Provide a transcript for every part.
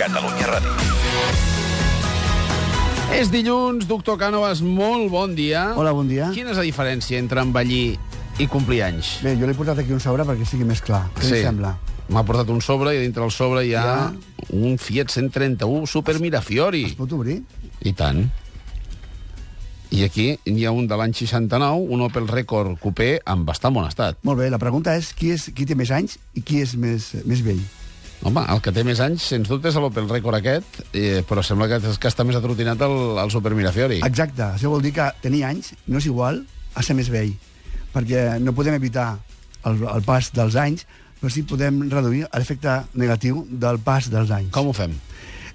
Catalunya Ràdio. És dilluns, doctor Cànovas, molt bon dia. Hola, bon dia. Quina és la diferència entre envellir i complir anys? Bé, jo l'he portat aquí un sobre perquè sigui més clar. Què sí. sembla? M'ha portat un sobre i a dintre el sobre hi ha Ja. un Fiat 131 Super Mirafiori. Es pot obrir? I tant. I aquí hi ha un de l'any 69, un Opel Record Coupé en bastant bon estat. Molt bé, la pregunta és qui, és, qui té més anys i qui és més, més vell. Home, el que té més anys, sens dubte, és l'Opel Record aquest, eh, però sembla que, que està més atrotinat al, al Super Mirafiori. Exacte, això vol dir que tenir anys no és igual a ser més vell, perquè no podem evitar el, el pas dels anys, però sí podem reduir l'efecte negatiu del pas dels anys. Com ho fem?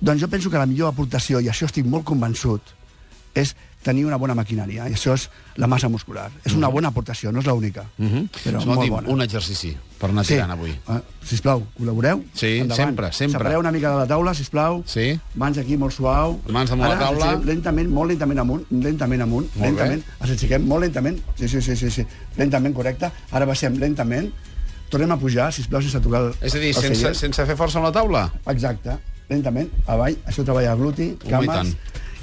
Doncs jo penso que la millor aportació, i això estic molt convençut, és tenir una bona maquinària, i això és la massa muscular. És una bona aportació, no és l'única, mm -hmm. però molt Mhm. Escolti'm, bona. un exercici per anar tirant avui. Uh, sisplau, col·laboreu. Sí, sempre, sempre. Separeu una mica de la taula, sisplau. Sí. Mans aquí, molt suau. Mans damunt la Ara, taula. aixequem Lentament, molt lentament amunt, lentament Molt amunt, bé. lentament. Els aixequem molt lentament. Sí, sí, sí, sí, sí. Lentament, correcte. Ara baixem lentament. Tornem a pujar, sisplau, sense tocar el, És a dir, el sense, seient. sense fer força amb la taula? Exacte, lentament, avall, això treballa gluti, i cames, tant.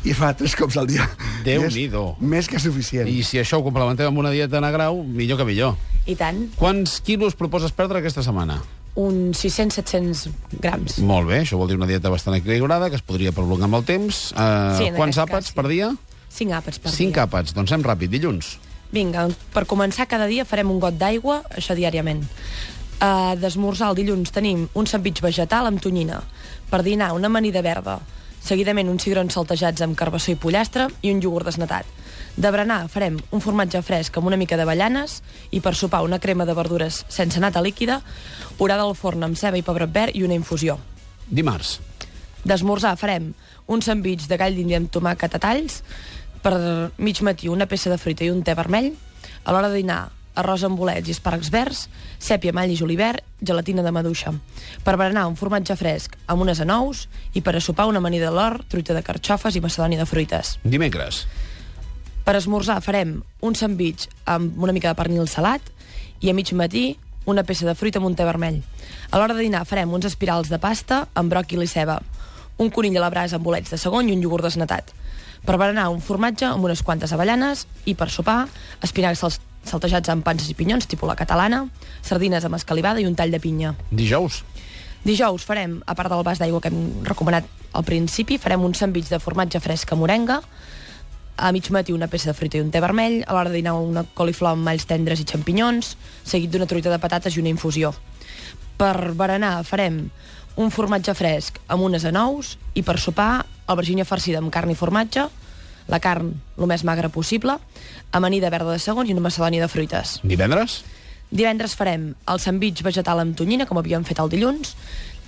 i fa tres cops al dia. Déu-n'hi-do. I és Més que suficient. I si això ho complementem amb una dieta en a grau, millor que millor. I tant, Quants quilos proposes perdre aquesta setmana? uns 600-700 grams. Molt bé, això vol dir una dieta bastant equilibrada, que es podria prolongar amb el temps. Uh, Sí, en quants aquest àpats cas, sí. per dia? 5 àpats per Cinc dia. àpats. Doncs anem ràpid, dilluns. Vinga, per començar cada dia farem un got d'aigua, això diàriament. Uh, D'esmorzar el dilluns tenim un sandvitx vegetal amb tonyina. Per dinar, una amanida verda. Seguidament, uns cigrons saltejats amb carbassó i pollastre i un iogurt desnatat. De berenar farem un formatge fresc amb una mica d'avellanes i per sopar una crema de verdures sense nata líquida, orada al forn amb ceba i pebrot verd i una infusió. Dimarts. D'esmorzar farem un sandvitx de gall d'indi amb tomàquet a talls, per mig matí una peça de fruita i un té vermell, a l'hora de dinar arròs amb bolets i espàrrecs verds, sèpia, mall i julivert, gelatina de maduixa. Per berenar, un formatge fresc amb unes anous i per a sopar una amanida de l'or, truita de carxofes i macedònia de fruites. Dimecres. Per esmorzar farem un sandvitx amb una mica de pernil salat i a mig matí una peça de fruita amb un té vermell. A l'hora de dinar farem uns espirals de pasta amb bròquil i ceba, un conill a la brasa amb bolets de segon i un iogurt desnatat. Per berenar, un formatge amb unes quantes avellanes i per sopar, espinacs sal- saltejats amb panses i pinyons, tipus la catalana, sardines amb escalivada i un tall de pinya. Dijous. Dijous farem, a part del vas d'aigua que hem recomanat al principi, farem un sandvitx de formatge fresc amb morenga, a mig matí una peça de fruita i un té vermell, a l'hora de dinar una coliflor amb malls tendres i xampinyons, seguit d'una truita de patates i una infusió. Per berenar farem un formatge fresc amb unes anous i per sopar albergínia farcida amb carn i formatge, la carn el més magra possible, amanida verda de segons i una macedònia de fruites. Divendres. Divendres farem el sandvitx vegetal amb tonyina, com havíem fet el dilluns.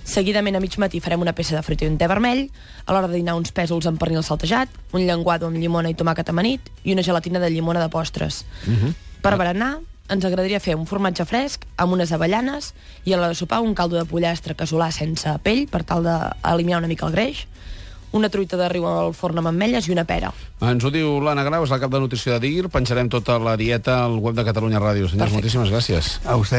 Seguidament, a mig matí, farem una peça de fruita i un té vermell. A l'hora de dinar, uns pèsols amb pernil saltejat, un llenguado amb llimona i tomàquet amanit i una gelatina de llimona de postres. Uh -huh. Per berenar, ens agradaria fer un formatge fresc amb unes avellanes i a l'hora de sopar un caldo de pollastre casolà sense pell per tal d'eliminar una mica el greix, una truita de riu al forn amb ametlles i una pera. Ens ho diu l'Anna Grau, és la cap de nutrició de DIR. Penjarem tota la dieta al web de Catalunya Ràdio. Senyors, moltíssimes gràcies. A vostès.